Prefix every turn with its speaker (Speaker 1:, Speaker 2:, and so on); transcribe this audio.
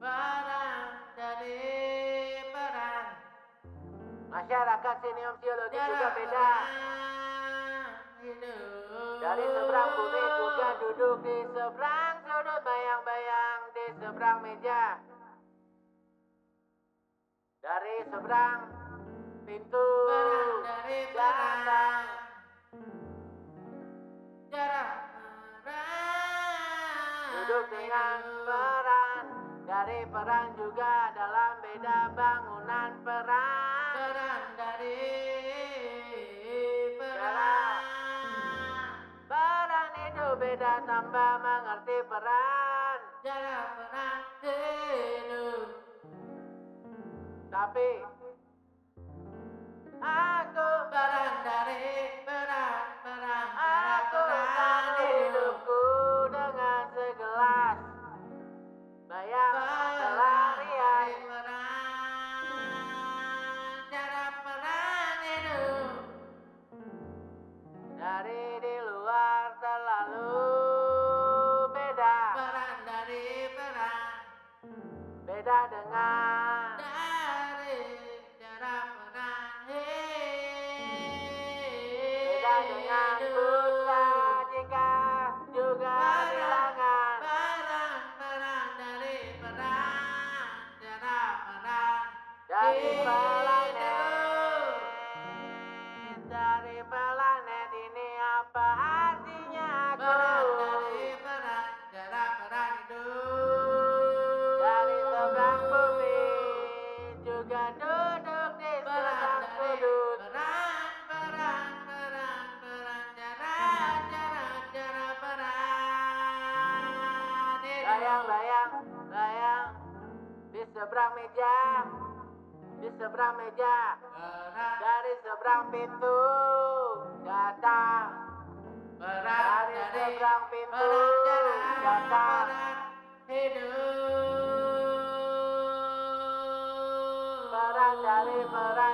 Speaker 1: Barang dari barang
Speaker 2: Masyarakat senior teologi juga
Speaker 1: Jarak
Speaker 2: beda.
Speaker 1: orang hidup.
Speaker 2: Dari seberang bumi juga duduk di seberang sudut bayang-bayang di seberang meja. Dari seberang pintu.
Speaker 1: Barang dari barang
Speaker 2: Jarang.
Speaker 1: Jarak orang
Speaker 2: Duduk dengan
Speaker 1: hidup.
Speaker 2: peran Dari peran juga dalam beda bangunan peran
Speaker 1: Barang dari
Speaker 2: Jarak.
Speaker 1: barang
Speaker 2: Peran itu beda tambah mengerti peran
Speaker 1: Jarak orang hidup.
Speaker 2: Tapi Aku
Speaker 1: Barang dari barang barang
Speaker 2: Aku akan hidupku dengan segelas Bayang pelarian Dari di luar terlalu beda Beda dengan Beda dengan busa jika juga bilangan dari planet dari planet ini apa artinya aku dari seberang bumi juga duduk di seberang sudut Layang-layang, layang di seberang meja, di seberang meja, dari seberang pintu datang, dari seberang pintu datang, peran dari peran